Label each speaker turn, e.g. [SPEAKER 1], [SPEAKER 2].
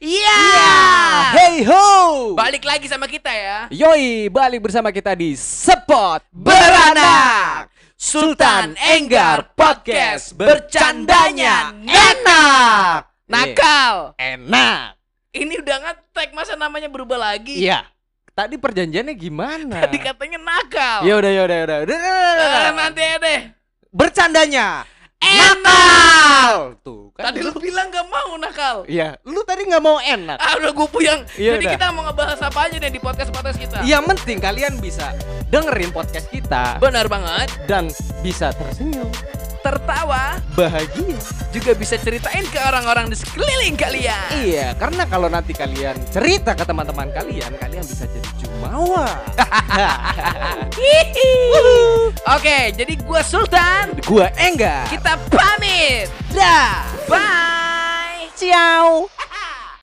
[SPEAKER 1] Iya.
[SPEAKER 2] Balik lagi sama kita
[SPEAKER 1] Iya.
[SPEAKER 2] ya.
[SPEAKER 1] Yoi, balik bersama kita di Spot
[SPEAKER 2] Beranak Sultan Enggar Podcast bercandanya enak. Nakal.
[SPEAKER 1] Enak.
[SPEAKER 2] Ini udah ngetek masa namanya berubah lagi.
[SPEAKER 1] Iya. Tadi perjanjiannya gimana?
[SPEAKER 2] Tadi katanya nakal.
[SPEAKER 1] Ya udah, ya udah, ya udah. Udah, udah, udah, udah.
[SPEAKER 2] Eh, nanti ya deh.
[SPEAKER 1] Bercandanya
[SPEAKER 2] Enak.
[SPEAKER 1] Tuh kan.
[SPEAKER 2] Tadi lu bilang gak mau nakal.
[SPEAKER 1] Iya, lu tadi nggak mau enak.
[SPEAKER 2] Ah udah gue puyeng. Jadi
[SPEAKER 1] Iya, udah. Iya.
[SPEAKER 2] kita mau ngebahas apa aja deh di podcast podcast kita.
[SPEAKER 1] Yang penting kalian bisa dengerin podcast kita
[SPEAKER 2] Benar banget.
[SPEAKER 1] dan bisa tersenyum,
[SPEAKER 2] Tertawa
[SPEAKER 1] bahagia.
[SPEAKER 2] juga bisa ceritain ke orang-orang di sekeliling kalian.
[SPEAKER 1] Iya, karena kalau nanti kalian cerita ke teman-teman kalian, kalian bisa jadi jumawa.
[SPEAKER 2] Hihi. Oke, jadi gua Sultan.
[SPEAKER 1] Gua enggak.
[SPEAKER 2] Kita pamit. Dah. Bye.
[SPEAKER 1] Ciao.